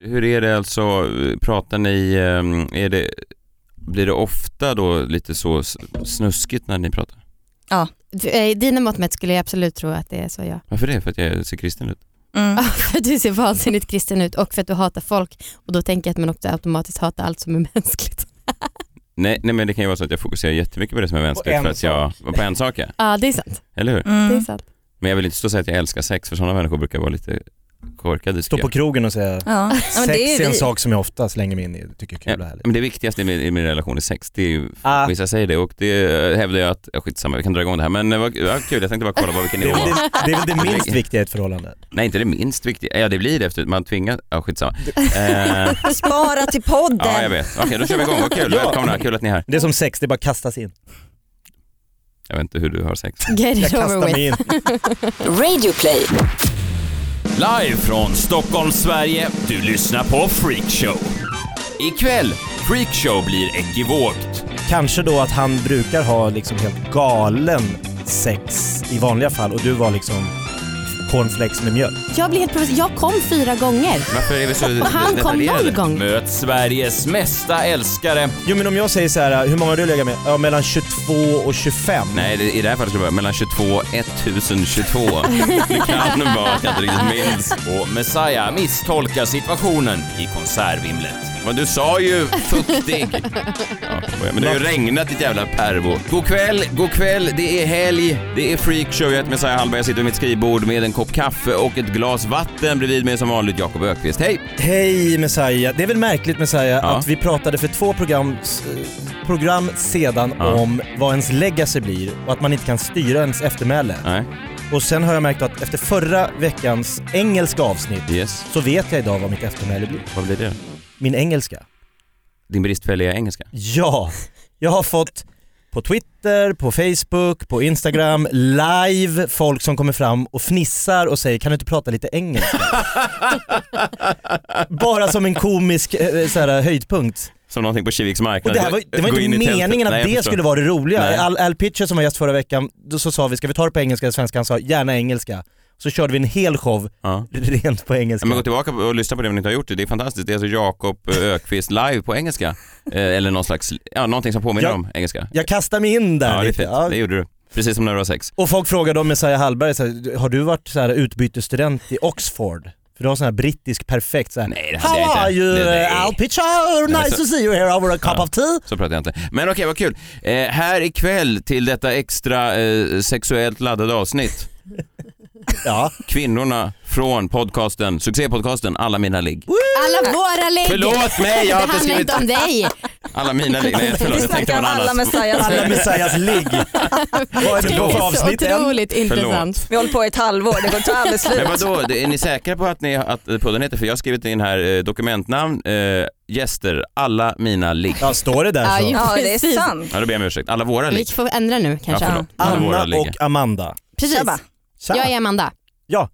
Hur är det alltså, pratar ni, ehm, är det, blir det ofta då lite så s- snuskigt när ni pratar? Du, eh, Dina mått mätt skulle jag absolut tro att det är så ja. Varför det? För att jag ser kristen ut? Ja, Alltså, för att du ser vansinnigt kristen ut och för att du hatar folk och då tänker jag att man också automatiskt hatar allt som är mänskligt. Nej, nej men det kan ju vara så att jag fokuserar jättemycket på det som är mänskligt en för att jag, på en sak ja, Ja det är sant. eller hur? Det är Mm. sant. Men jag vill inte stå och säga att jag älskar sex för sådana människor brukar vara lite korkade Stå tycker på jag. krogen och säga Ja. Ja, men sex det är, är ju en vi. sak som jag ofta slänger mig in i, tycker är kul och härligt. Men det viktigaste i min, i min relation är sex, det är ju Ah, Vissa säger det och det eh, hävdar jag att, ja, skitsamma vi kan dra igång det här men eh, vad ja, kul jag tänkte bara kolla på vilken det, är nivå. väl det, det är väl det minst viktiga i ett förhållande. Nej inte det minst viktiga, ja det blir det efter man tvingar, ja skitsamma. Eh, Spara till podden. ja jag vet, okej då kör vi igång, vad kul, Ja. välkomna, kul att ni är här. Det är som sex, det är bara kastas in. Jag vet inte hur du har sex. Get Jag it kastar over with. mig in. Radio play. Live från Stockholm, Sverige. Du lyssnar på Freakshow. Ikväll, Freakshow blir ekivokt. Kanske då att han brukar ha liksom helt galen sex i vanliga fall och du var liksom cornflakes med mjölk. Jag blir helt provocerad. Jag kom fyra gånger Varför är vi så och han kom noll detaljerade? gång. Möt Sveriges mesta älskare. Jo men om jag säger så här, hur många har du legat med? Ja, mellan 22 och 25. Nej, det, i det här fallet skulle det vara mellan 22 och 1022. Det kan vara att jag inte riktigt minns. Och Messiah misstolkar situationen i konservimlet. Men du sa ju fuktig. Ja, men det har ju regnat ditt jävla pervo. God kväll, god kväll, det är helg, det är freakshow. Jag heter Messiah Hallberg, jag sitter vid mitt skrivbord med en kopp kaffe och ett glas vatten bredvid mig som vanligt Jakob Ökvist. Hej! Hej Messiah! Det är väl märkligt Messiah Ja. att vi pratade för två program, s- program sedan Ja. om vad ens legacy blir och att man inte kan styra ens eftermäle. Nej, Och sen har jag märkt att efter förra veckans engelska avsnitt yes. så vet jag idag vad mitt eftermäle blir. Vad blir det? Min engelska. Din bristfälliga engelska. Ja! Jag har fått på Twitter, på Facebook, på Instagram, live, folk som kommer fram och fnissar och säger kan du inte prata lite engelska? Bara som en komisk eh, så här, höjdpunkt. Som någonting på Kiviks Och marknad. det, här var, det var Gå in i inte tältet. meningen att Nej, jag det förstår. skulle vara det Nej. roliga. Al, Al Pitcher som var gäst förra veckan, då så sa vi ska vi ta det på engelska eller svenska? Han sa gärna engelska. Så körde vi en hel show Ja. rent på engelska. Ja, Men gå tillbaka och lyssna på det om ni inte har gjort det. Det är fantastiskt. Det är alltså Jakob eh, Ökvist live på engelska. Eh, Eller någon slags, ja, någonting som påminner Ja. om engelska. Jag kastar mig in där Ja, det är lite. fint. Ja. Det gjorde du. Precis som när du var sex. Och folk frågade om Messiah Hallberg, så här, har du varit så här, utbytesstudent i Oxford? För du har sån här brittisk perfekt så här, Nej, det hade How jag inte. are you Nej, nej. eh, Al Pitcher? men Nice så- to see you here over a cup Ja. of tea. Så pratar jag inte. Men okej, vad kul. Eh, här ikväll till detta extra eh, sexuellt laddade avsnitt. Ja. Kvinnorna från podcasten, succépodcasten Alla mina ligg. Alla våra lägg. Förlåt mig, Det jag har inte handlar skrivit inte om dig. Alla mina ligg. Nej, förlåt, Vi jag tänkte snackar på om något alla annat. Messias. Alla Messias ligg. Vad är Det det då för är så avsnitt än? otroligt intressant. Vi håller på i ett halvår, det går inte alldeles slut. Men vadå, det- är ni säkra på att, ni, att eh, podden heter, för jag har skrivit in här eh, dokumentnamn, eh, gäster, alla mina ligg. Ja, står det där Ja, så? ju- Ja, det är Precis. sant. Ja, då ber jag om ursäkt. Alla våra Vi ligg. får ändra nu Ja, kanske. förlåt. Alla våra Anna ligg. och Amanda. Precis. Tjabba. Tja. Jag är Amanda.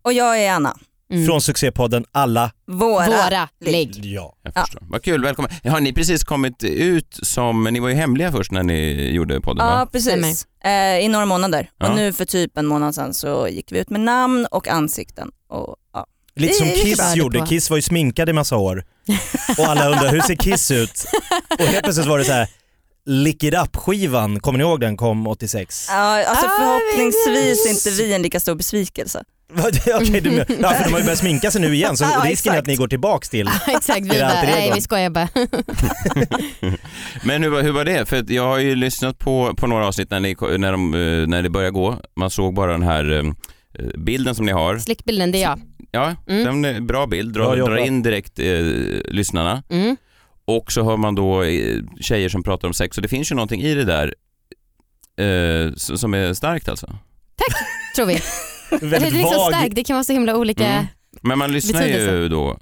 Och jag är Anna. Mm. Från succépodden Alla. Våra. Våra lägg. Ja. Jag Ja. förstår. Vad kul, välkommen. Har ni precis kommit ut som, ni var ju hemliga först när ni gjorde podden Ja va? precis, eh, i några månader. Ja. Och nu för typ en månad sedan så gick vi ut med namn och ansikten. Och, ja. Lite Det som är ju bra Kiss det gjorde. på. Kiss var ju sminkad i massa år. Och alla undrar hur ser Kiss ut? Och helt plötsligt var det så här. Lick it up skivan, kommer ni ihåg den kom 86? Ja, alltså Ah, förhoppningsvis men- är inte vi en lika stor besvikelse. Vad- Okej, du menar- ja, för de har ju börjat sminka sig nu igen så Ja, risken är att exakt. ni går tillbaks till... Exakt, Är vi det bara, alltid det nej då? vi skojar bara. Men hur, var- hur var det? För att jag har ju lyssnat på, på några avsnitt när, ni, ko- när, de, eh, när det började gå. Man såg bara den här eh, bilden som ni har. Slickbilden, det är jag. Ja, Mm. den är bra bild. Bra Dra, jobbat. dra in direkt eh, lyssnarna. Mm. Och så hör man då eh, tjejer som pratar om sex och det finns ju någonting i det där eh, s- som är starkt alltså. Tror vi. Det är Väldigt liksom vag. starkt, det kan vara så himla olika. Mm. Men man lyssnar ju Betydelse. då.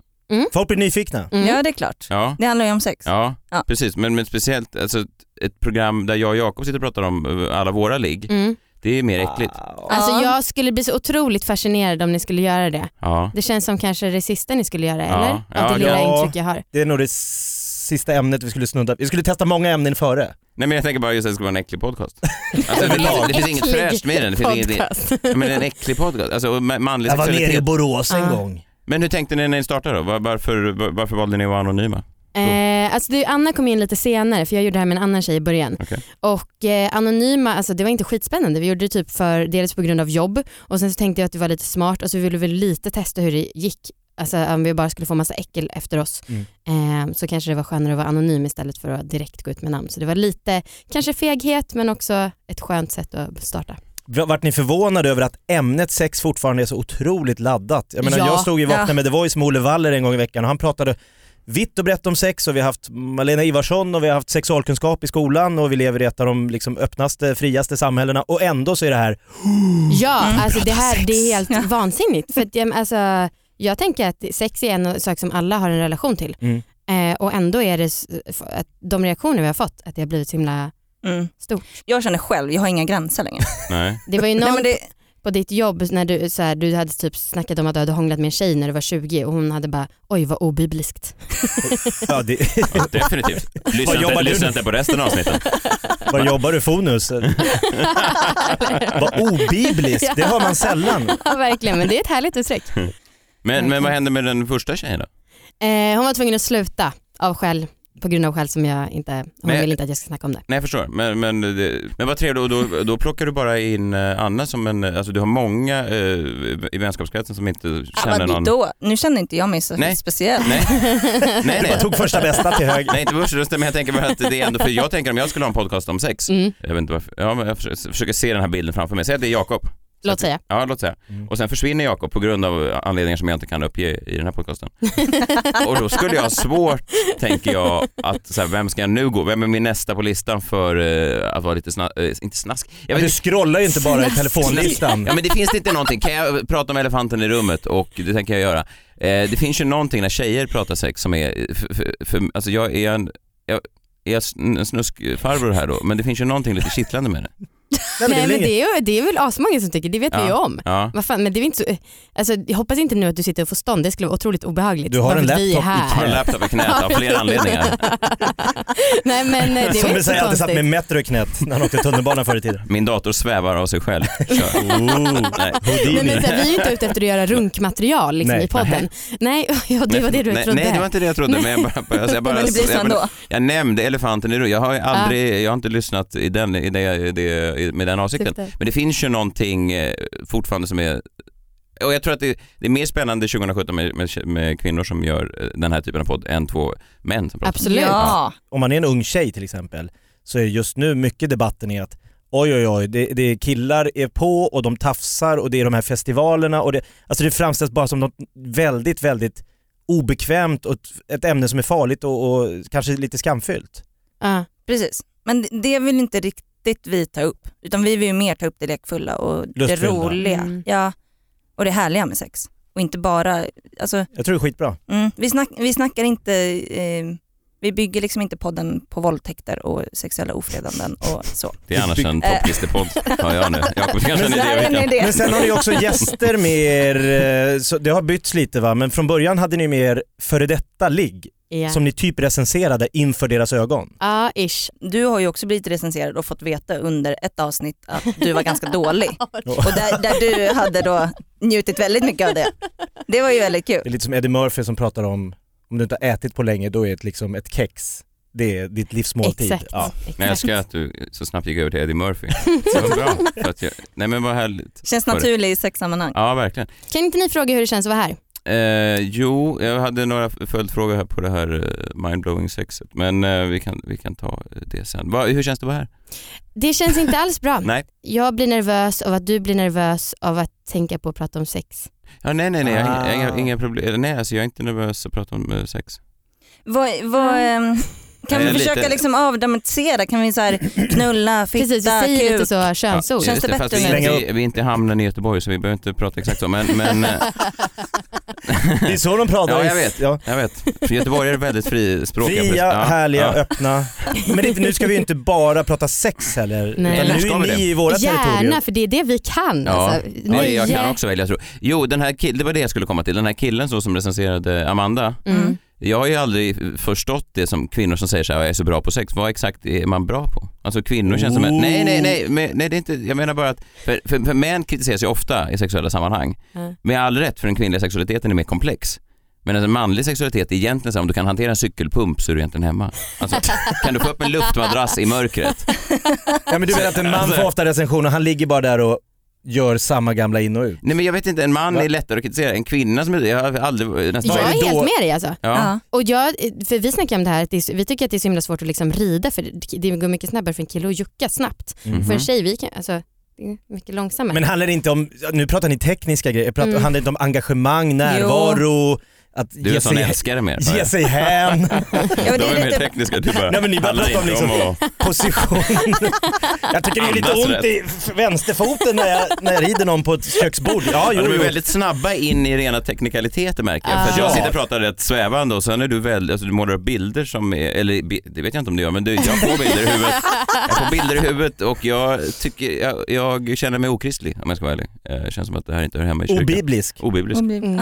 Folk blir nyfikna. Mm. Ja det är klart. Ja. Det handlar ju om sex. Ja, Ja. precis. Men, men speciellt alltså, ett- ett program där jag och Jakob sitter och pratar om eh, alla våra ligg. Mm. Det är mer äckligt. Alltså Ja. jag skulle bli så otroligt fascinerad om ni skulle göra det. Ja. Det känns som kanske det sista ni skulle göra Ja. eller? Ja, Av det lilla ja. intryck jag har. Det är nog det s- sista ämnet vi skulle snudda Vi skulle testa många ämnen före. Nej men jag tänker bara just att det ska vara en äcklig podcast. Alltså, det, Överlag. det, det finns inget Äcklig fräscht med den. Det finns inget, podcast. Ja, men det är en äcklig podcast. Alltså ma- manlig Jag var nere i sexualitet. Borås en Ja. gång. Men hur tänkte ni när ni startade då? Var- Varför, var- varför valde ni att vara anonyma? Eh, alltså det, Anna kom in lite senare för jag gjorde det här med en annan tjej i början. Okej. Och eh, anonyma, alltså det var inte skitspännande. Vi gjorde det typ för, dels på grund av jobb och sen så tänkte jag att det var lite smart och så ville vi lite testa hur det gick. Alltså om vi bara skulle få massa äckel efter oss Mm. eh, så kanske det var skönare att vara anonym istället för att direkt gå ut med namn. Så det var lite, kanske feghet men också ett skönt sätt att starta. V- Vart ni förvånade över att ämnet sex fortfarande är så otroligt laddat? Jag menar Ja. jag stod i Vakna Ja. med The Voice med Olle Waller en gång i veckan och han pratade vitt och brett om sex och vi har haft Malena Ivarsson och vi har haft sexualkunskap i skolan och vi lever i ett av de liksom öppnaste, friaste samhällena och ändå så är det här Ja, Mm. alltså det här det är helt Ja. vansinnigt. För att, ja, men alltså, jag tänker att sex är en sak som alla har en relation till. Mm. Eh, och ändå är det s- f- att de reaktioner vi har fått, att det har blivit så himla Mm. stort. Jag känner själv, jag har inga gränser längre. Nej. Det var ju någon Nej, men det, på ditt jobb när du, så här, du hade typ snackat om att du hade hånglat med en tjej när du var 20 och hon hade bara oj vad obibliskt. ja, det, Ja, definitivt. Lyssna, Vad jobbar inte, du lyssna med? inte på resten av avsnittet. Vad jobbar du Fonus? Vad obibliskt, det hör man sällan. Ja verkligen men det är ett härligt uttryck. Men, men vad hände med den första tjejen då? Eh, hon var tvungen att sluta av skäl, på grund av skäl som jag inte, hon Men- vill inte att jag ska snacka om det. Nej jag förstår, men, men, det- men vad trevligt och då, då plockar du bara in eh, Anna som en, alltså du har många eh, i vänskapskretsen som inte ja, känner men någon. då, nu känner inte jag mig så Nej. speciell. Nej, nej, nej. Jag tog första bästa till höger. Nej inte börsrösten men jag tänker bara att det är ändå, för jag tänker om jag skulle ha en podcast om sex, Mm, jag vet inte varför, ja, men jag försöker, försöker se den här bilden framför mig, säg att det är Jakob. låt säga. Ja låt säga. Och sen försvinner Jakob på grund av anledningar som jag inte kan uppge i den här podcasten. Och då skulle jag ha svårt, tänker jag, att så här, vem ska jag nu gå, vem är min nästa på listan för eh, att vara lite snask, inte snask, jag vet Du scrollar ju inte bara i telefonlistan. Ja men det finns inte någonting, kan jag prata om elefanten i rummet och det tänker jag göra. Eh, det finns ju någonting när tjejer pratar sex som är, eh, för, för, för, alltså jag är en, jag, är jag sn- en snuskfarbror här då, men det finns ju någonting lite kittlande med det. Nej, Nej men det men är väl inget- det är, ju- det är väl asmånga som tycker, det vet vi ju om. Ja. Vad fan, men det är väl inte så, alltså, jag hoppas inte nu att du sitter och får stånd, det skulle vara otroligt obehagligt. Du har Bara en för att vi är laptop i här. Har en laptop i knät av flera anledningar. Nej men eh, det är Som väl vi inte säger alltid satt med konstigt. Metro i knät när han åkte tunnelbana förr i tiden. Min dator svävar av sig själv. Kör. Nej. Nej, men, så här, vi Oh. är ju inte ute efter att göra runkmaterial liksom, Nej. i podden. Nej, ja, det var det du nej, trodde. Nej det var inte det jag trodde men jag bara, bara, alltså, jag bara Men det blir så jag, bara- ändå. jag nämnde elefanten i rummet, jag har ju aldrig, jag har inte lyssnat i den, i det, i det, i, med den avsikten. Syfte. Men det finns ju någonting eh, fortfarande som är och jag tror att det, det är mer spännande 2017 med, med, med kvinnor som gör eh, den här typen av podd än två män som pratar. Absolut. Ja. Om man är en ung tjej till exempel så är just nu mycket debatten i att oj oj oj, det, det är killar är på och de tafsar och det är de här festivalerna och det, alltså det framställs bara som något väldigt, väldigt obekvämt och ett- ett ämne som är farligt och, och kanske lite skamfyllt. Ja. Precis, men det- det vill inte riktigt vi ta upp. Utan vi vill ju mer ta upp det lekfulla och det Lustfyllda. roliga. Mm. Ja, och det härliga med sex. Och inte bara, alltså, Jag tror det är skitbra. mm, vi, snack, vi snackar inte, eh, vi bygger liksom inte podden på våldtäkter och sexuella ofredanden och så. Det är annars en topplistepodd, hör jag nu. Jakob, det kanske är Eh. en Men idé där är vi en kan- idé. Men sen har ni också gäster med er, eh, så det har bytts lite va, men från början hade ni med er före detta ligg Ja. som ni typ recenserade inför deras ögon. Ja, ish. Du har ju också blivit recenserad och fått veta under ett avsnitt att du var ganska dålig. Och där, där du hade då njutit väldigt mycket av det. Det var ju väldigt kul. Det är lite som Eddie Murphy som pratar om om du inte har ätit på länge då är det liksom ett kex. Det är ditt livsmåltid. Exakt. Ja. Men jag Exakt. älskar att du så snabbt gick över till Eddie Murphy. Det var bra. För att jag, nej men vad härligt. Känns Var det? naturligt i sexsammanhang. Ja verkligen. Kan inte ni fråga hur det känns att vara här? Eh, jo, jag hade några f- följdfrågor här på det här eh, mindblowing sexet men eh, vi, kan, vi kan ta eh, det sen. Va, hur känns det att vara här? Det känns inte alls bra. Nej. Jag blir nervös av att du blir nervös av att tänka på att prata om sex. Ja, nej, nej, nej, jag har inga- Ah. inga, inga problem. Nej, alltså jag är inte nervös att prata om eh, sex. Vad, vad, ehm, kan Nej, vi lite- försöka liksom avdramatisera? Kan vi så här knulla, fitta, Precis, vi säger kuk? lite så könsord. Känns just det fast bättre vi, är nu? inte, vi är inte i hamnen i Göteborg så vi behöver inte prata exakt så men, men eh, Det är så de pratar. Ja, jag i- vet. Ja. jag vet. För Göteborg är väldigt frispråkiga. Fria, Ja, härliga, ja. öppna. Men det, är inte- nu ska vi ju inte bara prata sex heller. Nej. Utan Eller nu ska är vi ni det? i våra Gärna, territorier. för det är det vi kan. Ja, Alltså, Ja, nöje. jag kan också välja tror Jo, den här kill- det var det jag skulle komma till. Den här killen så som recenserade Amanda. Mm. Jag har ju aldrig förstått det som kvinnor som säger så här, jag är så bra på sex. Vad exakt är man bra på? Alltså kvinnor känns som... Oh. Nej, nej, nej, men- nej, det är inte, jag menar bara att, för, för, för män kritiseras ju ofta i sexuella sammanhang. Ja. Med all rätt, för den kvinnliga sexualiteten är mer komplex. Men alltså, manlig sexualitet är egentligen så här, om du kan hantera en cykelpump så är du egentligen hemma. Alltså, kan du få upp en luftmadrass i mörkret? Ja men du menar att en man får ofta recensioner och han ligger bara där och gör samma gamla in och ut. Nej men jag vet inte, en man Va? är lättare att kritisera. En kvinna som är jag har aldrig, nästan... Jag Vad är är det helt då? med dig alltså. Ja. Och jag, för vi snackar om det här, att det är, så- vi tycker att det är så himla svårt att liksom rida för det- det går mycket snabbare för en kille att jucka snabbt. För Mm. en tjej, vi kan, alltså, det är mycket långsammare. Mm-hmm. Men handlar det inte om, nu pratar ni tekniska grejer, pratar, Mm. handlar det inte om engagemang, närvaro, att Du är ge en sån sig, älskare mer. ge sig hän, Ja, men De det är är mer lite, tekniska, du bara... Nej, men ni bara handlar pratar om inte liksom- att- position. Jag tycker det är lite Andas ont i f- vänsterfoten när jag, när jag rider någon på ett köksbord. Ja, Ja, jo, de är jo. väldigt snabba in i rena teknikaliteter märker jag. För att Ah. jag sitter och pratar rätt svävande och sen är du väldigt, alltså, du målar upp bilder som är, eller bi- det vet jag inte om du gör men du, jag får bilder i huvudet. Jag får bilder i huvudet och jag tycker, jag, jag känner mig okristlig om jag ska vara ärlig. Eh, Det känns som att det här inte hör hemma i kyrkan. Obiblisk. Obiblisk. Mm.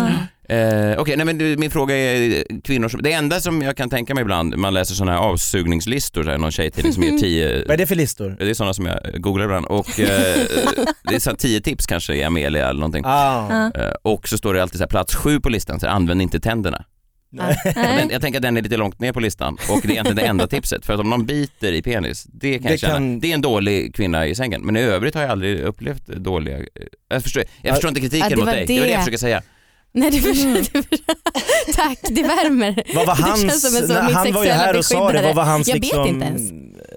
Eh, Okej, nej men du, min fråga är kvinnor som, det enda som jag kan tänka mig ibland, man läser sådana här avsugningslistor, så här, någon tjejtidning som ger tio Vad är det för listor? det är sådana som jag googlar ibland och eh, det är så här tio tips kanske i Amelia eller någonting. Ah. Eh, Och så står det alltid så här, plats sju på listan, så här, använd inte tänderna. Och Den, jag tänker att den är lite långt ner på listan och det är egentligen det enda tipset. För att om någon biter i penis, det kan Det jag känna, kan- det är en dålig kvinna i sängen. Men i övrigt har jag aldrig upplevt dåliga, eh, jag förstår, jag Ja. förstår inte kritiken Ja, det mot var dig, det var det det. jag försöker säga. Nej, du försöker, Mm. du försöker- Tack, det värmer. Vad var Det känns hans, som en sån- när mitt han var ju sexuella här och sa det, beskyddare. vad var hans Jag vet liksom... inte ens.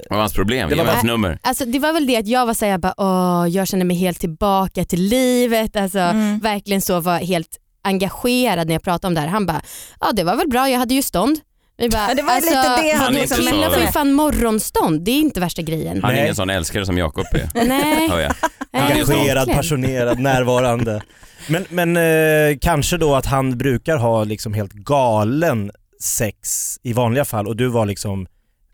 Vad var hans problem? Det Det var var bara- hans nummer. Alltså, det var väl det att jag var såhär, jag, bara, åh, jag känner mig helt tillbaka till livet. Alltså, Verkligen så var helt engagerad när jag pratade om det här. Han bara, ja det var väl bra, jag hade ju stånd. Vi bara, "Alltså, Ja, det var lite det han vadå, liksom Killar sa. får ju fan morgonstånd, det är inte värsta grejen. Han är Nej. ingen sån älskare som Jakob är, Nej, hör jag. nej, Engagerad, verkligen. passionerad, närvarande. Men, men eh, kanske då att han brukar ha liksom helt galen sex i vanliga fall och du var liksom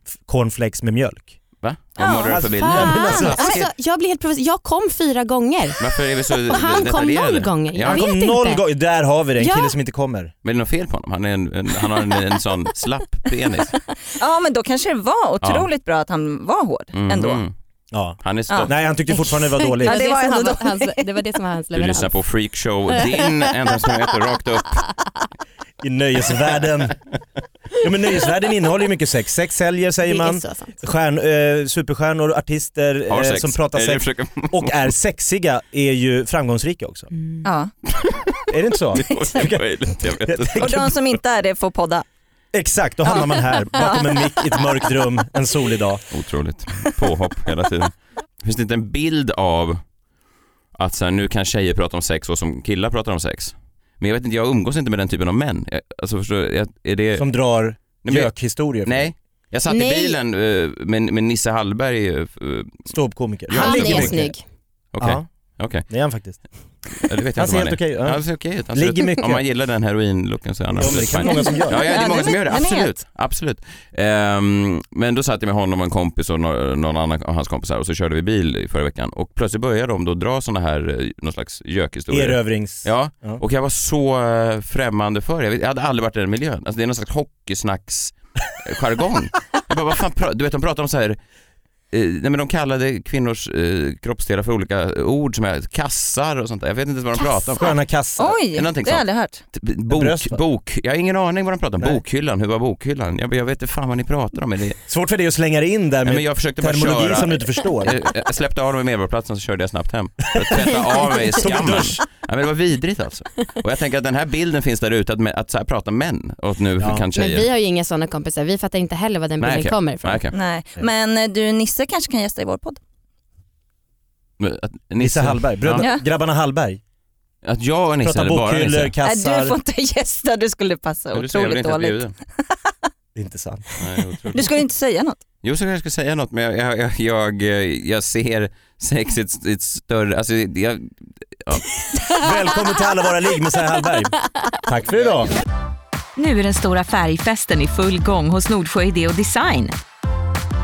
f- cornflakes med mjölk. Va? Ja, Vad målar du för alltså, bild fan. nu? Fan, alltså- alltså, jag blir helt provocerad. Jag kom fyra gånger Alltså, Varför är vi så och han kom detaljerade? noll gånger. Ja, Jag han vet Kom inte. noll gånger, där har vi det, en Ja. kille som inte kommer. Men är det något fel på honom? Han, är en, en, han har en, en sån slapp penis. ja men då kanske det var otroligt bra att han var hård Mhm. ändå. Ja. Han är stolt. Nej han tyckte fortfarande det var dåligt. Ja, det, det var var som ändå han- hans, det var det som var hans Du leverans. lyssnar på Freakshow, din ensamstående rakt upp. i nöjesvärlden. Ja men nöjesvärlden innehåller ju mycket sex. Sex säljer säger Det är man. så sant. Stjärn, eh, superstjärnor, artister Har eh, sex. som pratar Är det det sex du försöker- och är sexiga är ju framgångsrika också. Mm. Ja. Är det inte så? Det var möjligt, jag vet inte. Och de som inte är det får podda. Exakt, då hamnar man här bakom en mick i ett mörkt rum en solig dag. Otroligt påhopp hela tiden. Finns det inte en bild av att så här, nu kan tjejer prata om sex och som killar pratar om sex? Men jag vet inte, jag umgås inte med den typen av män. Jag- Alltså förstår du, jag- är det... Som drar Nej, men- gökhistorier. Nej. Jag satt Nej. i bilen eh, med, med Nisse Hallberg, eh, f- eh, okej, Ståuppkomiker. Ja, Han ligger är mycket. snygg. okej. Ja, det är han faktiskt. Ja, det vet jag inte Han om ser han helt är. okej ut. Ja, Ja. det ser okej ut. Han Ligger ser ut. mycket. Om man gillar den heroinlooken så är han Ja, men det absolut kan fine. många som Ja, gör. ja, det Ja, är många det som gör det, vet- jag absolut. absolut. Ehm, men då satt jag med honom och en kompis och nå- någon annan av hans kompisar och så körde vi bil i förra veckan och plötsligt började de då dra sådana här, eh, någon slags gökhistorier. Erövrings... Ja, Ja. och jag var så eh, främmande för det. Jag vet- Jag hade aldrig varit i den miljön. Alltså det är någon slags hockeysnacks eh, jargong. Jag bara, vad fan, pra- du vet de pratar om så här eh, Nej men de kallade kvinnors eh, kroppsdelar för olika ord som är kassar och sånt där. Jag vet inte ens vad de pratar om. Sköna kassar. Oj, det någonting har jag sånt. aldrig hört. T- Bok, Bröst, va? bok, jag har ingen aning vad de pratar om. Nej. Bokhyllan, hur var bokhyllan? Jag, jag vet inte fan vad ni pratar om. Är det, Svårt för dig att slänga dig in där Nej, men med jag försökte bara terminologi köra. som du inte förstår. Jag, jag släppte av dem i Medborgarplatsen så körde jag snabbt hem. För att tvätta av mig Tog en skammen. dusch. Ja, men det var vidrigt alltså. Och jag tänker att den här bilden finns där ute, att, mä- att så här pratar män och att nu Ja. kan Men tjejer... vi har ju inga sådana kompisar, vi fattar inte heller var den Nej, bilden okej. kommer ifrån. Nej, okej. Nej. Men eh, du Nisse kanske kan gästa i vår podd? Men att Nisse Hallberg, bröderna, Ja. grabbarna Hallberg. Att jag och Nisse, Prata eller bara bokhyllor, Nisse? Nej, kassar. du får inte gästa, du skulle passa Ja, Du ser, jag vill otroligt inte att bli dåligt. bjuden. Det är inte sant. Nej, otroligt. Du skulle inte säga något. Jo, så kanske jag ska säga något, men jag, jag, jag, jag, jag ser sex i ett, i ett större... Alltså, jag, Välkommen till alla våra ligg med Sarah Hallberg. Tack för idag. Nu är den stora färgfesten i full gång hos Nordsjö Idé och Design.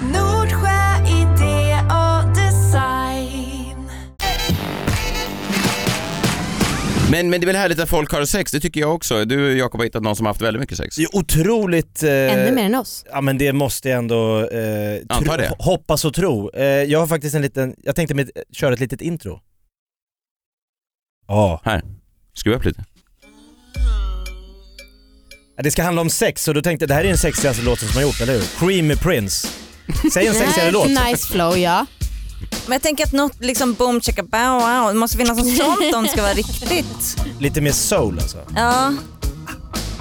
Nordsjö idé och design. Men, men det är väl härligt att folk har sex, det tycker jag också. Du Jakob har hittat någon som har haft väldigt mycket sex. Det är otroligt... eh, Ännu mer än oss. Ja men det måste jag ändå eh, Anta det. hoppas och tro. Eh, jag har faktiskt en liten, jag tänkte med, köra ett litet intro. Ja. Skruva upp lite. Det ska handla om sex och då tänkte jag, det här är den sexigaste låten som har gjort, eller hur? Creamy Prince. Säg en sexigare låt. Nice flow ja. Men jag tänker att något liksom boom chicka bow wow, det måste finnas något sånt om det ska vara riktigt. Lite mer soul alltså. Ja,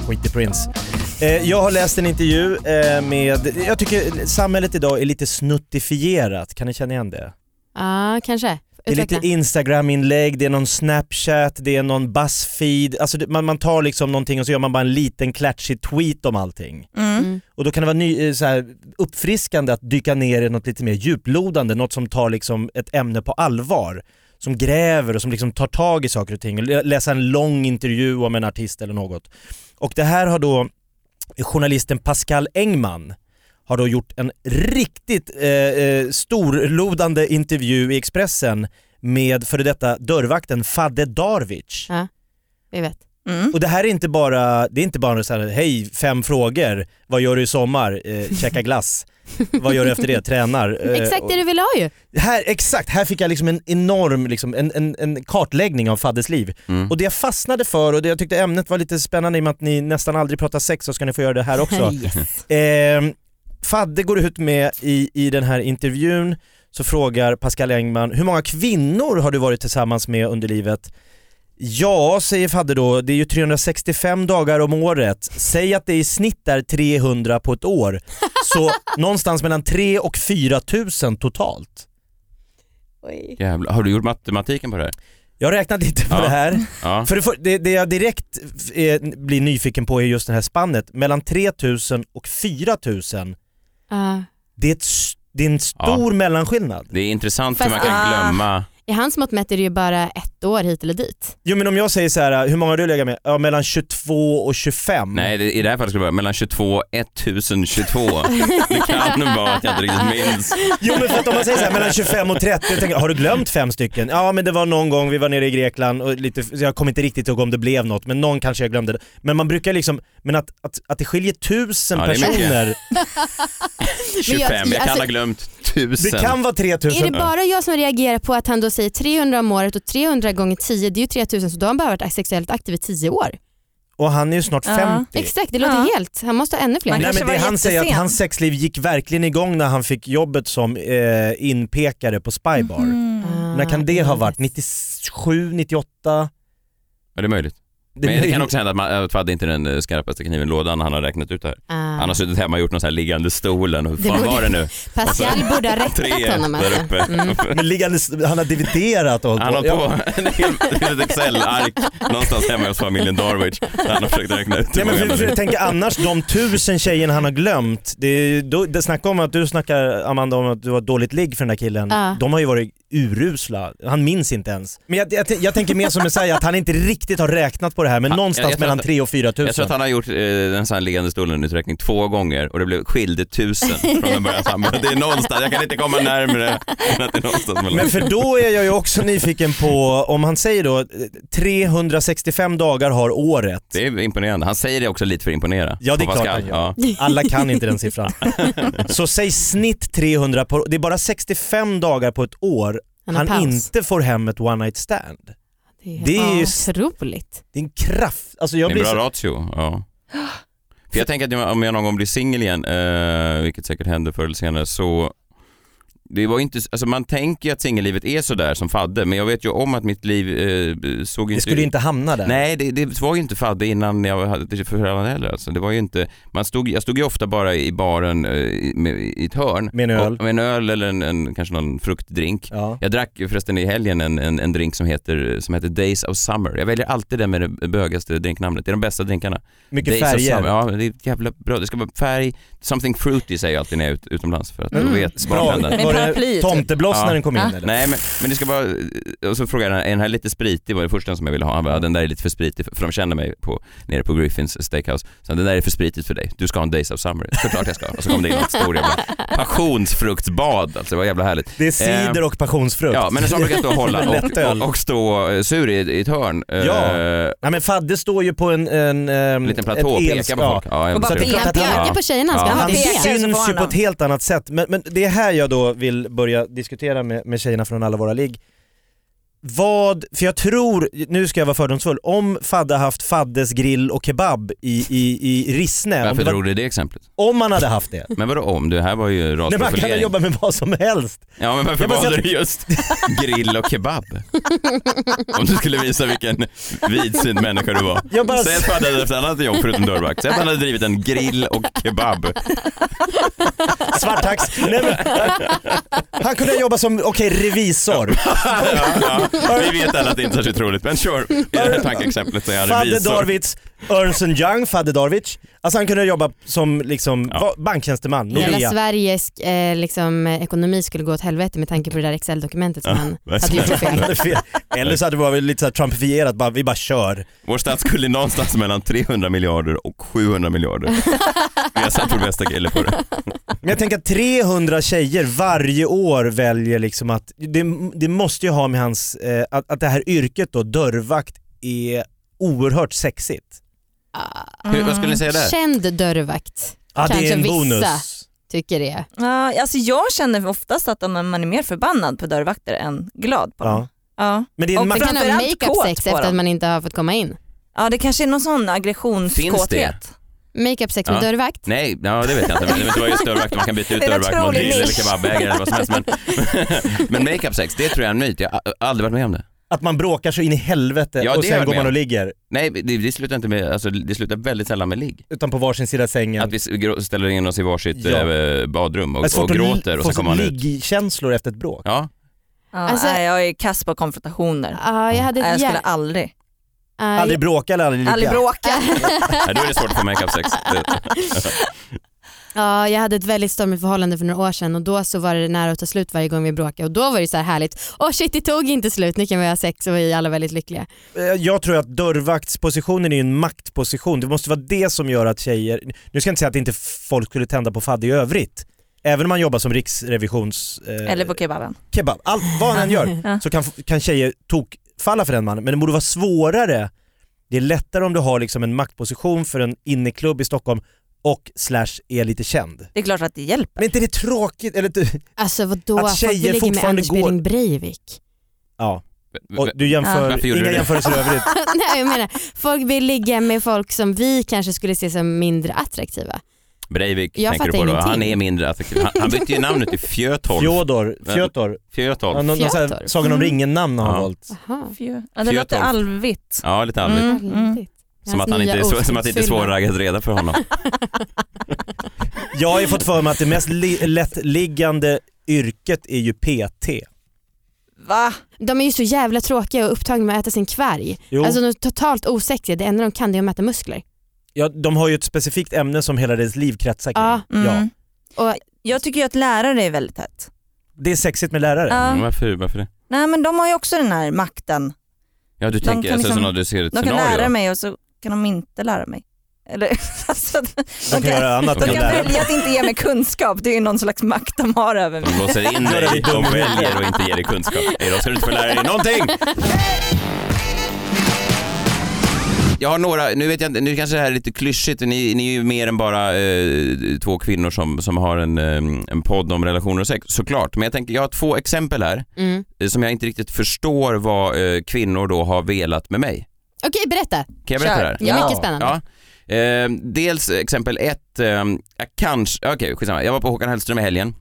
Skit i Prince. Eh, jag har läst en intervju eh, med, jag tycker samhället idag är lite snuttifierat, kan ni känna igen det? Ja, kanske. Det är Utveckla. lite Instagram-inlägg, det är någon Snapchat, det är någon Buzzfeed. Alltså det, man, man tar liksom någonting och så gör man bara en liten klatschig tweet om allting. Mm. Och då kan det vara ny, eh, så här, uppfriskande att dyka ner i något lite mer djuplodande, något som tar liksom ett ämne på allvar. Som gräver och som liksom tar tag i saker och ting. Lä- Läsa en lång intervju om en artist eller något. Och det här har då eh, journalisten Pascal Engman har då gjort en riktigt eh, eh, storlodande intervju i Expressen med före detta dörrvakten Fadde Darvic. Ja, vi vet. mm. Och det här är inte bara, det är inte bara så här, hej fem frågor, vad gör du i sommar, eh, käka glass, vad gör du efter det, tränar. Eh, Exakt det du vill ha ju. och- här, exakt, här fick jag liksom en enorm liksom, en, en, en kartläggning av Faddes liv. Mm. Och det jag fastnade för och det jag tyckte ämnet var lite spännande i och med att ni nästan aldrig pratar sex så ska ni få göra det här också. Yes. Eh, Fadde går ut med i, i den här intervjun så frågar Pascal Engman, hur många kvinnor har du varit tillsammans med under livet? Ja, säger Fadde då, det är ju 365 dagar om året. Säg att det i snitt är 300 på ett år. Så någonstans mellan 3 och 4 000 totalt. Jävlar. Har du gjort matematiken på det här? Jag räknade inte på Ja. det här. Ja. För det, för- det, det jag direkt eh, blir nyfiken på är just det här spannet. Mellan 3 000 och 4 000, Ja. det är, ett, s- det är en stor mellanskillnad. Det är intressant hur Fast- man kan Ah. glömma. I hans mått mätt är det ju bara ett år hit eller dit. Jo men om jag säger så här, hur många har du legat med? Ja mellan 22 och 25. Nej, det, i det här fallet skulle det vara mellan 22 och 1022. Det kan vara att jag inte riktigt minns. Jo men för att om man säger så här, mellan 25 och 30, jag tänker, har du glömt fem stycken? Ja men det var någon gång vi var nere i Grekland och lite, så jag kommer inte riktigt ihåg om det blev något, men någon kanske jag glömde. det. Men man brukar liksom, men att, att, att det skiljer tusen Ja, det är mycket. personer, 25, jag, kan alltså- ha glömt 1000. det kan vara Är det 3000. bara jag som reagerar på att han då säger 300 om året och 300 gånger 10 det är ju 3000 så då har han bara varit sexuellt aktiv i 10 år. Och han är ju snart Ja. 50. Exakt, det låter Ja. helt. Han måste ha ännu fler. Man Nej kanske men det var han säger att jättesen. hans sexliv gick verkligen igång när han fick jobbet som eh, inpekare på Spybar. Mhm. Mm. Ah, När kan det ha varit? yes. 97, 98? Ja, det är möjligt. Det Men det blir- kan också hända att man att Fadde inte är den eh, skarpaste kniven i lådan han har räknat ut det här. Ah. Han har suttit hemma och gjort någon sån här liggande stolen och hur Det fan borde- var det nu? Pascal borde ha rättat honom där alltså. uppe. Mm. Men liggandes, han har dividerat och Han har Ja. på en hel- ett litet Excel-ark någonstans hemma hos familjen Darwich där han har försökt räkna ut hur Nej men många för, för det jag är. tänker annars, de tusen tjejerna han har glömt, det, är- då, det snacka om att du snackar Amanda om att du var dåligt ligg för den där killen, Ja. de har ju varit urusla, han minns inte ens. Men jag, jag, tän- jag tänker mer som en säger att han inte riktigt har räknat på det här men Han- någonstans jag- jag tror mellan att- 3 och 4 tusen. Jag tror att han har gjort eh, den sån här liggande stolen-uträkning två gånger och det blev skilde tusen från en början. Så han bara, Det är någonstans, jag kan inte komma närmre än att det är någonstans mellan. Men för då är jag ju också nyfiken på, om han säger då eh, 365 dagar har året, Det är imponerande. Han säger det också lite för att imponera. Ja, det är På klart Pascal. han gör. alla kan inte den siffran. Så säg snitt 300 på, det är bara 65 dagar på ett år Han har han paus. inte får hem ett one night stand. Det det är är ju- ju otroligt. Det är en kraft, alltså jag Det är blir en så, bra ratio. Ja. För jag tänker att om jag någon gång blir singel igen, eh, vilket säkert händer förr eller senare, så det var inte, alltså man tänker ju att singellivet är sådär som Fadde, men jag vet ju om att mitt liv eh, såg det inte skulle ut- inte hamna där. Nej, det, det var ju inte fadde innan jag hade ett förhållande heller. Alltså, det var ju inte, man stod, jag stod ju ofta bara i baren eh, i, med, i ett hörn. Med en öl. Och, med en öl eller en, en, kanske någon fruktdrink. Ja. Jag drack ju förresten i helgen en, en, en drink som heter, som heter Days of Summer. Jag väljer alltid den med det bögaste drinknamnet. Det är de bästa drinkarna. Mycket Days of färger. Summer. Ja, det är ett jävla bra. Det ska vara färg, something fruity säger jag alltid när jag är ut, utomlands för att då Mm. vet Bra. bartendern. Min Var typ. det paraplyet. tomteblossnaren Ja. kom in Ah. Ja. eller? Nej men, men det ska bara, och så frågade jag, är den här lite spritig? var det första som jag ville ha. Han bara, den där är lite för spritig, för för de känner mig på, nere på Griffins steakhouse. Så den där är för spritigt för dig, du ska ha en Days of Summer. Såklart jag ska. Och så kom det in något stort jävla passionsfruktsbad, alltså det var jävla härligt. Det är cider och passionsfrukt. ehm, Ja men en sån brukar jag stå och hålla Lätt öl. och, och, och stå eh, sur i, i ett hörn. Ja. Eh, Nej men Fadde står ju på en... en ehm, En liten ett platå och pekar elsk- på folk. Ja, jag Och bara ser det. pekar. Han pekar på tjejerna, ska Ja. han Han det är pekar. det? så får syns ju han på dem. ett helt annat sätt. Men, men det är här jag då vill börja diskutera med, med tjejerna från alla våra ligg. Vad, för jag tror, nu ska jag vara fördomsfull, om Fadde haft Faddes grill och kebab i, i, i Rissne, om, Varför det var, drog du det exemplet? om han hade haft det. Men vadå om? Det här var ju Nej, man kan väl rasprofilering. jobba med vad som helst. Ja men varför Jag bara valde säger- du just grill och kebab? Om du skulle visa vilken vidsynt människa du var. Jag bara, Säg att Fadde hade haft ett annat jobb förutom dörrvakt. Säg att han hade drivit en grill och kebab. svarttax. Nej, men, han kunde jobba som, okej revisor. Ja, ja. Vi vet alla att det inte är särskilt roligt men sure, i det här tankeexemplet så är han Fadde revisor. Darwitz, Ernst Young, Fadde Darwitz. Alltså han kunde jobba som liksom, Ja. va- banktjänsteman, Hela Nordea. Sveriges eh, liksom, eh, ekonomi skulle gå åt helvete med tanke på det där Excel-dokumentet som han hade verkligen. gjort fel. Eller så hade det varit lite så här trumpifierat, bara, vi bara kör. Vår statsskuld är någonstans mellan 300 miljarder och 700 miljarder. Vi har satt vår bästa kille på det. Men jag tänker att 300 tjejer varje år väljer liksom att, det, det måste ju ha med hans, eh, att, att det här yrket då, dörrvakt, är oerhört sexigt. Ah. Hur, vad skulle ni säga där? Känd dörrvakt Ja det Kanske är en vissa. bonus. tycker det. Ja, alltså jag känner oftast att de- man är mer förbannad på dörrvakter än glad på dem. Ja. Ja. Men det är en Och ma- Man kan ha Framförallt makeup kåt sex på efter att dem. man inte har fått komma in. ja, det kanske är någon sån Finns det? aggressionskåthet. Makeup sex med Ja. dörrvakt. Nej, ja, det vet jag inte. Men det var ju dörrvakt, man kan byta ut Det är en dörrvakt mot otrolig grill eller nisch. kebabägare eller vad som helst. Men, men makeup sex, det tror jag är en myt. Jag har aldrig varit med om det. att man bråkar så in i helvete Ja, och det är jag sen går med man och om. ligger. Nej, det, det slutar inte med, alltså, det slutar väldigt sällan med ligg. Utan på varsin sida sängen. Att vi s- grå- ställer in oss i varsitt Ja. eh, badrum Det är och, svårt och att li- gråter och få sen kommer man sån ut. liggkänslor efter ett bråk. Ja, Ja, Alltså- nej, jag är kass på konfrontationer. Ja, jag hade Nej, jag ett skulle jä- aldrig, ja, Aldrig bråka eller aldrig ligga. aldrig bråka. Nej, då är det svårt att få makeup sex. Det- Ja, jag hade ett väldigt stormigt förhållande för några år sedan och då så var det nära att ta slut varje gång vi bråkade och då var det så här härligt. Åh shit, det tog inte slut, nu kan vi ha sex och vi är alla väldigt lyckliga. Eh, Jag tror att dörrvaktspositionen är ju en maktposition. Det måste vara det som gör att tjejer... Nu ska jag inte säga att inte folk skulle tända på fadde i övrigt. Även om man jobbar som riksrevisions... Eh, Eller på kebaben. kebab. Allt vad han än gör så kan, kan tjejer tok falla för den mannen. Men det borde vara svårare. Det är lättare om du har liksom en maktposition för en inneklubb i Stockholm och slash är lite känd. Det är klart att det hjälper. Men inte är det tråkigt? Eller, du- Alltså vadå, Att Fan, vi tjejer ligger med fortfarande Anders går- Behring Breivik. ja, och du jämför, Varför gjorde inga du det? jämförelser i övrigt. Nej jag menar, folk vill ligga med folk som vi kanske skulle se som mindre attraktiva. Breivik Jag tänker du på fattar då. Han ingenting. är mindre attraktiv. Han, han bytte ju namn ut till Fjötolv. Fjodor, Fjötor. Ja, Fjötolv. någon, någon sån här Fjötor? Sagan om ringen-namn har han Ja. valt. Jaha. Ja, det låter Fjötorp. alvigt. Ja, lite allmänt. Mm. Väldigt. Som, att han inte är, så- som att det inte är svårraggat redan för honom. Jag har ju fått för mig att det mest li- lättliggande yrket är ju PT. Va? De är ju så jävla tråkiga och upptagna med att äta sin kvarg. Jo, Alltså de är totalt osexiga, det enda de kan det är att mäta muskler. ja, de har ju ett specifikt ämne som hela deras liv kretsar kring. Ja. Ja. Mm. Och Jag tycker ju att lärare är väldigt hett. Det är sexigt med lärare. Ja. Mm, varför, varför det? Nej men de har ju också den här makten. Ja, du De tänker kan alltså, liksom- som att du ser ett De kan scenario. lära mig och så kan de inte lära mig. Eller, alltså, de, De kan göra annat de än de att kan lära. välja att inte ge mig kunskap, det är ju någon slags makt de har över mig. De låser in Göra dig, dig dum de i huvudet. väljer och inte ger dig kunskap. Nej, då ska du inte få lära dig någonting! Jag har några, nu vet jag inte, nu kanske det här är lite klyschigt, ni, ni är ju mer än bara eh, två kvinnor som, som har en, eh, en podd om relationer och sex, såklart. Men jag tänker, jag har två exempel här Mm. eh, som jag inte riktigt förstår vad eh, kvinnor då har velat med mig. Okej, berätta. Kan jag berätta Kör. det här? Det är mycket spännande. Ja. Eh, dels exempel ett, eh, jag kanske, okej skitsamma. Jag var på Håkan Hellström i helgen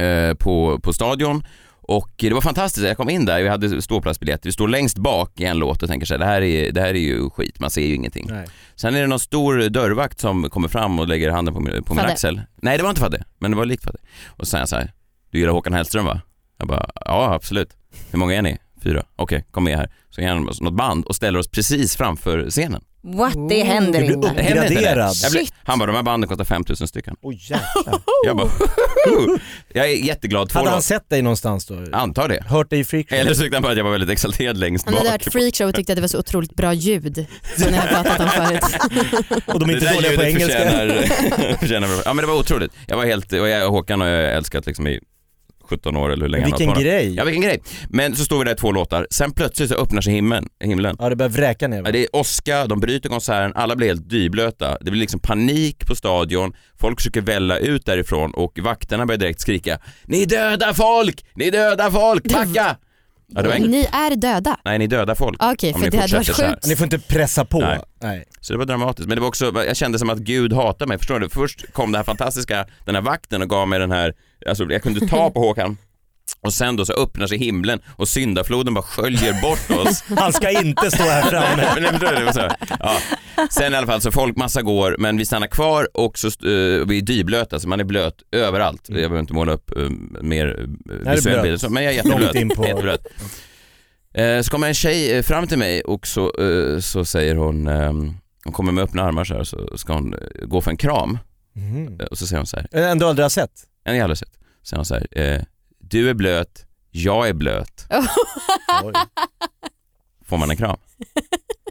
eh, på, på stadion och det var fantastiskt, jag kom in där, vi hade ståplatsbiljetter, vi står längst bak i en låt och tänker så här, det här är, det här är ju skit, man ser ju ingenting. Nej. Sen är det någon stor dörrvakt som kommer fram och lägger handen på min, på min Fadde. axel. Nej det var inte Fadde, men det var likt Fadde. Och så säger han så här, du gillar Håkan Hellström va? Jag bara, ja absolut. Hur många är ni? fyra, okej, kom med här. Så ger han oss något band och ställer oss precis framför scenen. What? Det händer Du blir inte. Det hände inte det. Graderad. Jag blev, Shit. han bara, de här banden kostar 5000 stycken. Oj jäklar. Oh. Jag bara, jag är jätteglad. Två Hade låtar. han sett dig någonstans då? Antar det. Hört dig i freakshow? Eller så tyckte han bara att jag var väldigt exalterad längst Han bak. hade hört freakshow och tyckte att det var så otroligt bra ljud som ni har pratat om förut. Och de är det inte dåliga på engelska. förtjänar, förtjänar... Ja men det var otroligt. Jag var helt, och jag, Håkan har jag älskat liksom i 17 år eller hur länge han Vilken har varit. grej. Ja vilken grej. Men så står vi där i två låtar, sen plötsligt så öppnar sig himlen. himlen. Ja det börjar vräka Ja, ner. Det är åska, de bryter konserten, alla blir helt dyblöta. Det blir liksom panik på stadion, folk försöker välla ut därifrån och vakterna börjar direkt skrika Ni dödar folk! Ni dödar folk! Backa! Ja, det var enkelt. Ni är döda. Nej ni dödar folk. Ah, Okej, Om för ni det hade varit fortsätter så här. sjukt. Ni får inte pressa på. Nej. Nej. Så det var dramatiskt. Men det var också, jag kände som att Gud hatade mig, förstår du? Först kom det här fantastiska, den här vakten och gav mig den här, alltså jag kunde ta på Håkan och sen då så öppnar sig himlen och syndafloden bara sköljer bort oss. Han ska inte stå här framme. Men jag förstår det, det var så här. ja. Sen i alla fall så folk, massa går, men vi stannar kvar och så, eh, vi är dyblöta, så man är blöt överallt. Jag behöver inte måla upp eh, mer eh, Mm. är visuell blöt. bild, så- men jag är jätteblöt. Långt in på- jätteblöt. Eh, Så kommer en tjej eh, fram till mig och så, eh, så säger hon, ehm, hon kommer med öppna armar så här så ska hon eh, gå för en kram Mm. Eh, och så säger hon så här, En du aldrig har sett. en jävla sätt, Så säger hon så här, eh, du är blöt, jag är blöt, Oj. får man en kram?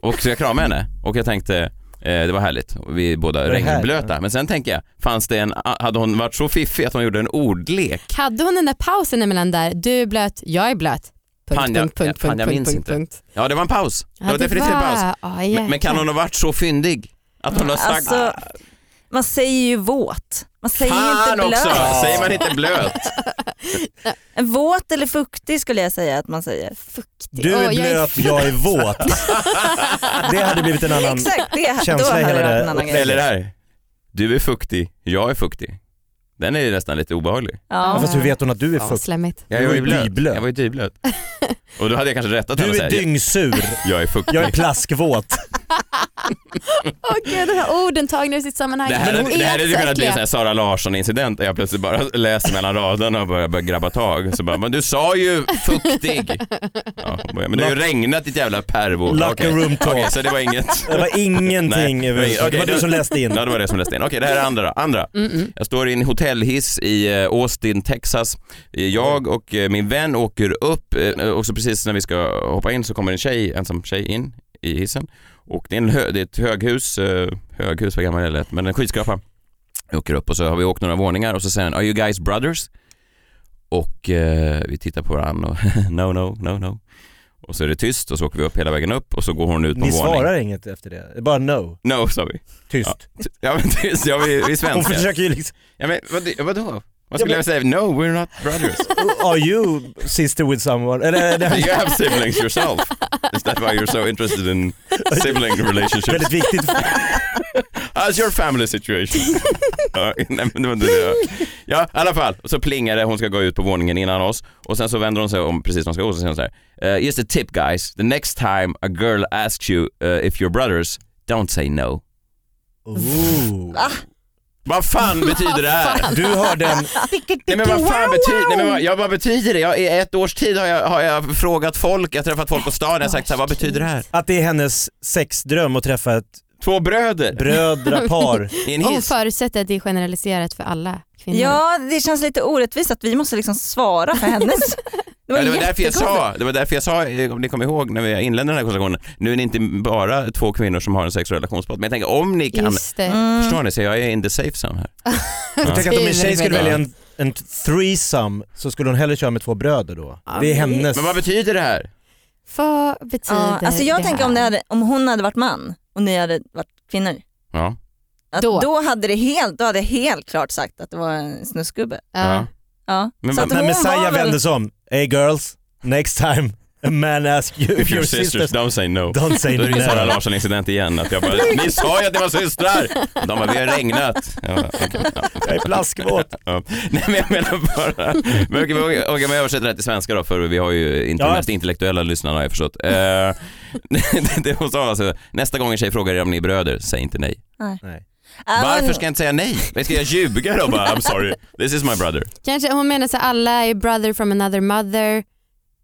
Och så jag kramade henne och jag tänkte, eh, det var härligt, Och vi är båda Vad är det här? regnblöta. Men sen tänker jag, fanns det en, ah, hade hon varit så fiffig att hon gjorde en ordlek? Hade hon den där pausen emellan där, du är blöt, jag är blöt. Punkt, Fan, jag- punkt, punkt, fan, jag punkt, minns punkt, inte. punkt. Ja det var en paus, det var Ja, definitivt en paus. Ah, Men, men kan hon ha varit så fyndig? Att hon har sagt Alltså, man säger ju våt. Man säger Fan inte blöt. också, säger man inte blöt? En våt eller fuktig skulle jag säga att man säger. Fuktig. Du är Åh, jag blöt, jag är våt. Det hade blivit en annan... Exakt, det, då Känsla i hade hela det varit det en här annan grej. Eller det här. Du är fuktig, jag är fuktig. Den är ju nästan lite obehaglig. Ja, Ja. fast hur vet hon att du är Fan, fukt? slemmigt. Jag Du var var ju ju blöt. dyblöt. Jag var ju dyblöt. Och då hade jag kanske rättat henne och Du är säga, dyngsur, jag är fuktig. jag är plaskvåt. Okej, de här orden tagna ur sitt sammanhang. Det här, De det här hade så kunnat bli en äckliga. sån här Sara Larsson-incident där jag plötsligt bara läser mellan raderna och börjar, börjar grabba tag. Så bara, men du sa ju fuktig. Ja, hon bara, men det har ju regnat ditt jävla pervo. Locker Okej. room talk. Okej, så det var inget. Det var ingenting Nej, överhuvudtaget. okej, det var då- du som läste in. Ja det var det som läste in. Okej det här är andra då. Andra. Mm, Jag står i en hotellhiss i eh, Austin, Texas. Eh, Jag Mm. och eh, min vän åker upp eh, och så precis när vi ska hoppa in så kommer en tjej, ensam tjej in i hissen. Och det är, en hö, det är ett höghus, eh, höghus vad gammal det lät, men en skyskrapa. Vi åker upp och så har vi åkt några våningar och så säger han “Are you guys brothers?” Och eh, vi tittar på varandra och “No, no, no, no”. Och så är det tyst och så åker vi upp hela vägen upp och så går hon ut på Ni en våning. svarar inget efter det, bara no, No, sa vi. tyst. Ja men tyst, ja, vi, vi är Hon svenskar. försöker ju liksom, Ja, men vad, vadå? Vad skulle Ja, men- jag säga? No, we're not brothers. are you sister with someone? Eller, det här You have siblings yourself. Is that why you're so interested in sibling är relationships? väldigt viktigt. How's your family situation? ja, nej, men det var inte det. ja, i alla fall. Så plingar det, hon ska gå ut på våningen innan oss och sen så vänder hon sig om precis när hon ska gå och så säger hon så här. Uh, just a tip guys, the next time a girl asks you uh, if you're brothers, don't say no. Ooh. Vad fan betyder det här? Du har den, Nej men vad fan betyder, nej, men vad, ja, vad betyder det? Jag, I ett års tid har jag, har jag frågat folk, jag har träffat folk på stan, jag har sagt så här, vad betyder det här? att det är hennes sexdröm att träffa ett Två bröder brödrapar. i en Hon hiss. förutsätter att det är generaliserat för alla kvinnor. Ja, det känns lite orättvist att vi måste liksom svara för hennes. Det var, Ja, det, var därför jag jättekonstigt. sa, det var därför jag sa, eh, om ni kommer ihåg när vi inledde den här konversationen, nu är det inte bara två kvinnor som har en sexuell relationsbot, men jag tänker om ni kan, Just det. Mm. förstår ni, så jag är in the safe zone här. Jag tänker att om en tjej skulle Hur välja en, en threesome så skulle hon hellre köra med två bröder då. Det är hennes. Men vad betyder det här? Vad betyder Ja, alltså jag det tänker här? om, det hade, om hon hade varit man och ni hade varit kvinnor. Ja. Att Då. då. hade det helt, då hade jag helt klart sagt att det var en snuskgubbe. Ja. Ja. Ja. Men Så vad- att När hon var Messiah väl- vänder sig om, hey girls, next time a man asks you if If your you're sisters, sisters don't say no. don't say Då är det ju Sara no. Larsson incident igen, att jag bara, ni sa ju att ni var systrar! De bara, vi har regnat. Ja, okej, ja. Jag är plaskvåt. Ja. Nej men jag menar bara, men okej, men okej, okej, men jag översätter det här till svenska då för vi har ju inte de Ja. mest intellektuella lyssnarna har jag förstått. Eh, det- det hon sa alltså, nästa gång en tjej frågar er om ni är bröder, säg inte nej. Nej. Ja, Varför Ah, men- ska jag inte säga nej? Men Ska jag ljuga då bara, I'm sorry, this is my brother. Kanske hon menar så här, alla är brother from another mother.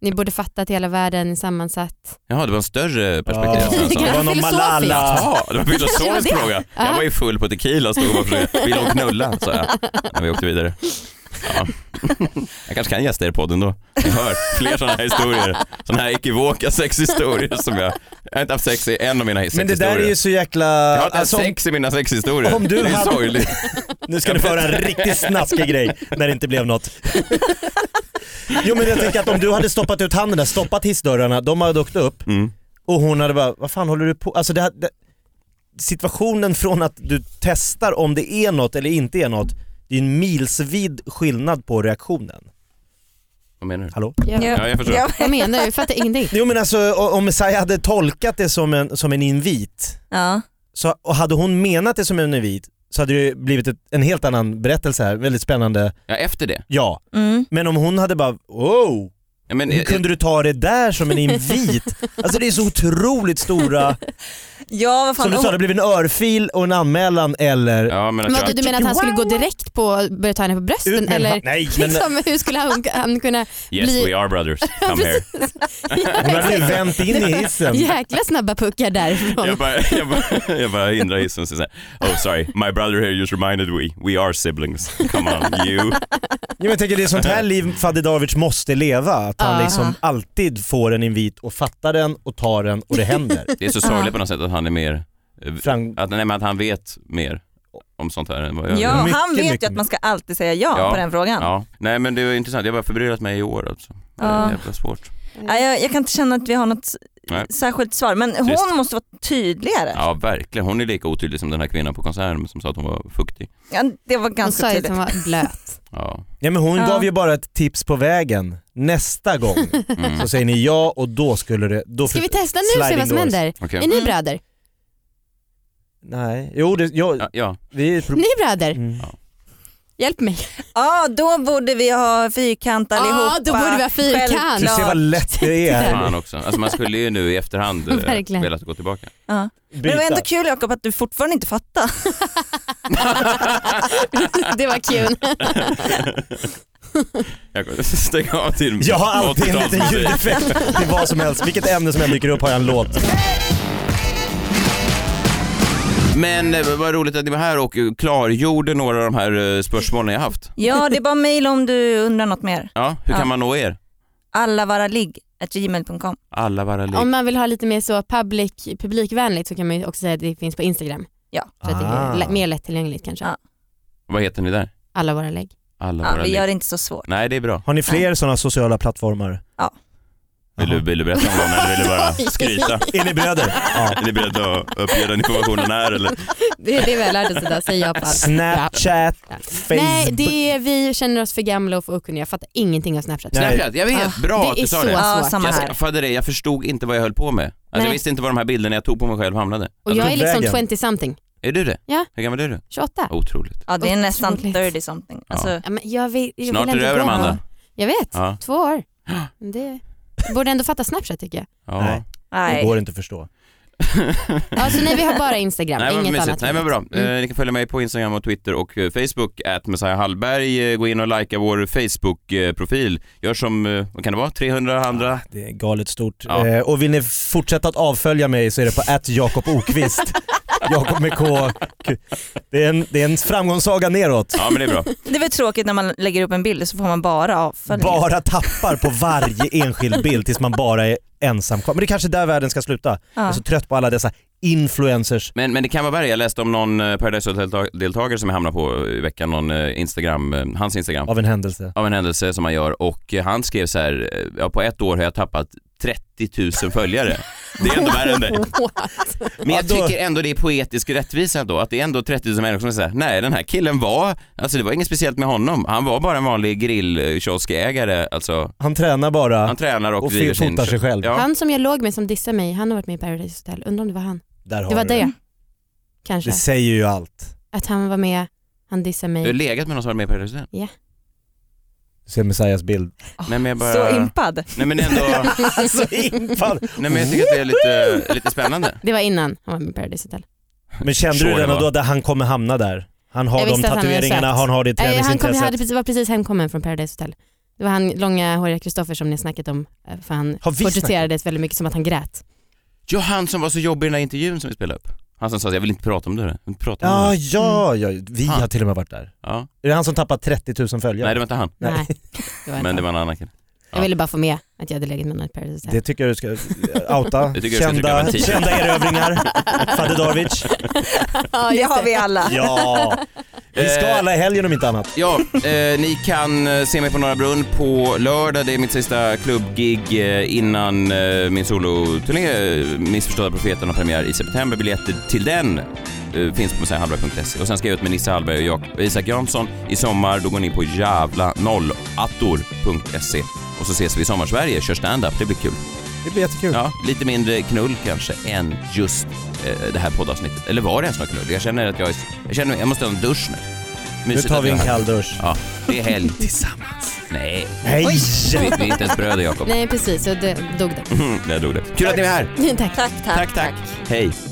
Ni borde fatta att hela världen är sammansatt. Jaha, det var en större perspektiv. Ja. Alltså. Det var någon Malala. Ja, det var en Det filosofisk var det. fråga. Jag var ju full på tequila och stod och bara försökte, vill hon knulla? sa jag när vi åkte vidare. Ja. Jag kanske kan gästa er podd ändå. Ni hör fler sådana här historier. Sådana här ekivoka sexhistorier som jag, jag har inte haft sex i en av mina Men det sexhistorier. där är ju så jäkla... Jag har inte haft om- sex i mina sexhistorier. Om du det är hade- sorgligt. Nu ska du få höra en riktigt snaskig grej när det inte blev något. Jo men jag tänker att om du hade stoppat ut handen där, stoppat hissdörrarna, de hade åkt upp Mm. och hon hade bara, vad fan håller du på Alltså det, här- det, situationen från att du testar om det är något eller inte är något, det är en milsvid skillnad på reaktionen. Vad menar du? Hallå? Ja, jag förstår. Ja. Vad menar du? Jag fattar ingenting. Jo men alltså o- om Messiah hade tolkat det som en, som en invit, Ja. så, och hade hon menat det som en invit så hade det blivit ett, en helt annan berättelse här, väldigt spännande. Ja, efter det. Ja, Mm. men om hon hade bara wow, Ja, men, hur kunde du ta det där som en invit? Alltså det är så otroligt stora, Ja, vad som fan. du sa det blev en örfil och en anmälan eller... ja, men att Vadå, jag, du menar att han skulle gå direkt på och börja ta henne på Ut brösten? med Eller han- Nej men liksom, hur skulle han, han kunna yes bli- we are brothers, come here. hon hade ju vänt in i hissen. jäkla snabba puckar därifrån? Jag bara, jag bara, jag bara hindrar hissen och säger så här, oh sorry, my brother here just reminded we, we are siblings, come on you. Jo, men jag tänker det är sånt här liv Fadidovic måste leva, att han Ja. liksom alltid får en invit och fattar den och tar den och det händer. Det är så sorgligt på något sätt att han är mer, eh, Fram- att, nej, men att han vet mer om sånt här än vad jag Ja, gör. Mycket, han vet ju mycket. att man ska alltid säga ja, Ja. på den frågan. Ja. Nej men det var intressant, jag har bara förbryllat mig i år alltså. Det är Ja. jävla svårt. Nej, jag, jag kan inte känna att vi har något Nej. särskilt svar, men Trist. hon måste vara tydligare. Ja. Ja verkligen, hon är lika otydlig som den här kvinnan på konserten som sa att hon var fuktig. det var Hon ganska sa ju att tydligt. han var blöt. Ja. Ja, men hon Ja. gav ju bara ett tips på vägen. Nästa gång Mm. så säger ni ja och då skulle det... Då Ska vi för- testa nu och se vad Sliding som doors. händer? Okej. Är ni bröder? Nej, jo det, jag, Ja, ja. vi är ett Ni problem. är bröder? Mm. Hjälp mig. Ja, då borde vi ha fyrkant allihopa. Ja, då borde vi ha fyrkant. Självklart. Du ser vad lätt det är. Fan också. Alltså man skulle ju nu i efterhand eh, Verkligen. velat gå tillbaka. Ja. Men det var ändå kul Jakob att du fortfarande inte fattar. Det var kul. Jag kommer stänga av till Jag har alltid en liten 80-talsmusik. ljudeffekt till vad som helst. Vilket ämne som än dyker upp har jag en låt. Men eh, vad roligt att ni var här och eh, klargjorde några av de här eh, spörsmålen jag haft. Ja, det är bara mejl om du undrar något mer. Ja, hur Ja. kan man nå er? Allavaraligg.gmail.com Alla vara lik. Om man vill ha lite mer så public, publikvänligt så kan man ju också säga att det finns på Instagram. Ja. Så att det Ah. är lä- mer lättillgängligt kanske. Ja. Vad heter ni där? Alla våra lägg. Alla Ja, vara vi lik. gör det inte så svårt. Nej, det är bra. Har ni fler sådana sociala plattformar? Ja. Vill du, vill du berätta om dem eller vill du bara skryta? Är ni bröder? Ja. Är ni beredda att uppge den informationen här eller? Det är det vi har lärt oss idag, säg ja på allt. Snapchat, Ja. Facebook. Nej, det är, vi känner oss för gamla och för okunniga. Jag fattar ingenting av Snapchat. Nej. Snapchat, jag vet. Bra att det är du så sa det. Ja, svårt. samma Jag här. skaffade det, jag förstod inte vad jag höll på med. Alltså, jag Nej. visste inte var de här bilderna jag tog på mig själv hamnade. Alltså, Och jag är liksom Vägen. 20 something, Är du det? Ja. Hur gammal är du? 28. Otroligt. Ja, det är nästan Otroligt. 30 something. Ja. Alltså, Ja, men jag vill, jag Snart vill är det ändå över gå. Amanda. Jag vet, Ja. två år. Men Det borde ändå fatta Snapchat tycker jag. ja. Nej. Det nej. går inte att förstå. Ja, så nej, vi har bara Instagram, Nej, vad inget mysigt. annat. Nej men bra. Mm. Eh, ni kan följa mig på Instagram och Twitter och eh, Facebook, at Messiah Hallberg. Eh, Gå in och likea vår Facebook-profil. Gör som, eh, vad kan det vara, 300 andra? Det är galet stort. Ja. Eh, och vill ni fortsätta att avfölja mig så är det på att Jakob Okvist. Jakob med K. Det är, en, det är en framgångssaga neråt. Ja men det är bra. Det är väl tråkigt när man lägger upp en bild så får man bara avföljning. Bara tappar på varje enskild bild tills man bara är ensam kvar. Men det är kanske där världen ska sluta. Jag är så trött på alla dessa influencers. Men, men det kan vara värre. Jag läste om någon eh, Paradise Hotel-deltagare som jag hamnade på i veckan, någon eh, Instagram, eh, hans Instagram, Av en händelse. av en händelse som han gör och eh, han skrev så här, eh, ja, på ett år har jag tappat 30 000 följare. Det är ändå värre än dig. Men jag Ja, då- tycker ändå det är poetisk rättvisa ändå, att det är ändå 30 000 människor som säger nej den här killen var, alltså det var inget speciellt med honom, han var bara en vanlig grillkioskägare, alltså Han tränar bara han tränar och, och driver fotar sig själv. Ja. Han som jag låg med som dissade mig, han har varit med i Paradise Hotel. Undrar om det var han. Där har Det var du det. det Kanske. säger ju allt. Att han var med, han dissade Du har mig. legat med någon som var med i Paradise Hotel? Du ser Messias bild. Nej men jag bara, Så impad. nej men ändå, Alltså impad. nej men jag tycker att det är lite, lite spännande. Det var innan han var med i Paradise Hotel. Men kände Sure du den det och då att han kommer hamna där? Han har Jag de visste att han hade tatueringarna, sagt. han har det Nej, han kom, träningsintresset. hade, precis- var precis hemkommen från Paradise Hotel. Det var han långhåriga Kristoffer som ni har snackat om eh, för han Har vi porträtterades väldigt mycket som att han grät. Ja, han som var så jobbig i den här intervjun som vi spelade upp. Han som sa att jag vill inte prata om det. där. Jag vill inte prata om Ja, det. ja, Mm. ja, vi Ah. har till och med varit där. där." Ja. Är det han som tappat 30 000 följare? Nej, det var inte han. Nej. Nej, det var Men inte det han. var en annan kille. Jag ville bara få med att jag hade legat med någon i Paradise Det Hotel. tycker jag du ska eh, outa. Det tycker jag ska trycka på kända, en tio. kända erövringar. Fadedovic. Ja, Det just har vi alla. Ja. Eh, Vi ska alla i helgen om inte annat. Ja, eh, ni kan eh, se mig på Norra Brunn på lördag. Det är mitt sista klubbgig eh, innan eh, min soloturné eh, Missförstådda Profeten har premiär i september. Biljetter till den eh, finns på messiahallberg.se. Och sen ska jag ut med Nisse Hallberg och Jak- Isak Jansson i sommar. Då går ni på jävla nollator.se och så ses vi i Sommarsverige. Kör stand-up, det blir kul. Det blir jättekul. Ja, lite mindre knull kanske än just eh, det här poddavsnittet. Eller var det ens något knull? Jag känner att jag är... Jag, känner, jag måste ha en dusch nu. nu Mysigt tar att vi jag en är här. kall dusch. Ja, det är helg. Tillsammans. Nej, Hej! vi, vi är inte ens bröder Jakob. Mm. Nej precis, så det dog det. Där dog det. Kul att ni är här. Tack. Tack, tack. Hej.